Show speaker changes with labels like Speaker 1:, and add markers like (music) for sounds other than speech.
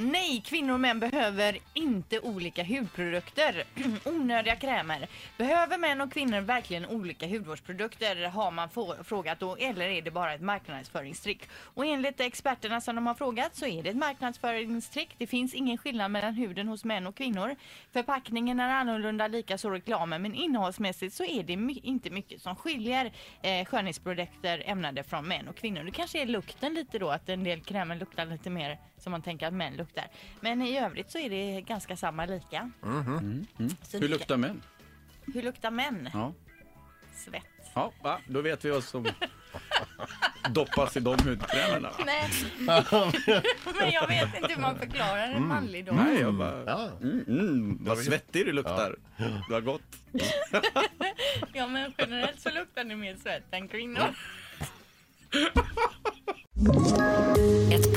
Speaker 1: Nej, kvinnor och män behöver inte olika hudprodukter. (clears throat) Onödiga krämer. Behöver män och kvinnor verkligen olika hudvårdsprodukter har man få- frågat då eller är det bara ett marknadsföringstrick? Och enligt experterna som de har frågat så är det ett marknadsföringstrick. Det finns ingen skillnad mellan huden hos män och kvinnor. Förpackningen är annorlunda, likaså reklamen, men innehållsmässigt så är det my- inte mycket som skiljer eh, skönhetsprodukter ämnade från män och kvinnor. Det kanske är lukten lite då, att en del krämer luktar lite mer som man tänker att män luktar. Men i övrigt så är det ganska samma lika. Så
Speaker 2: Mm-hmm. Hur
Speaker 1: lika-
Speaker 2: luktar män?
Speaker 1: hur luktar män?
Speaker 2: Ja.
Speaker 1: Svett.
Speaker 2: Ja, va? Då vet vi oss som doppas i de hudkrämerna.
Speaker 1: Nej, (laughs) men jag vet inte hur man förklarar en manlig då.
Speaker 2: Nej, jag bara...
Speaker 3: Ja.
Speaker 2: Mm, mm, vad svettig du luktar. Det var gott.
Speaker 1: Ja, men generellt så luktar ni mer svett än kvinnor.
Speaker 4: Ett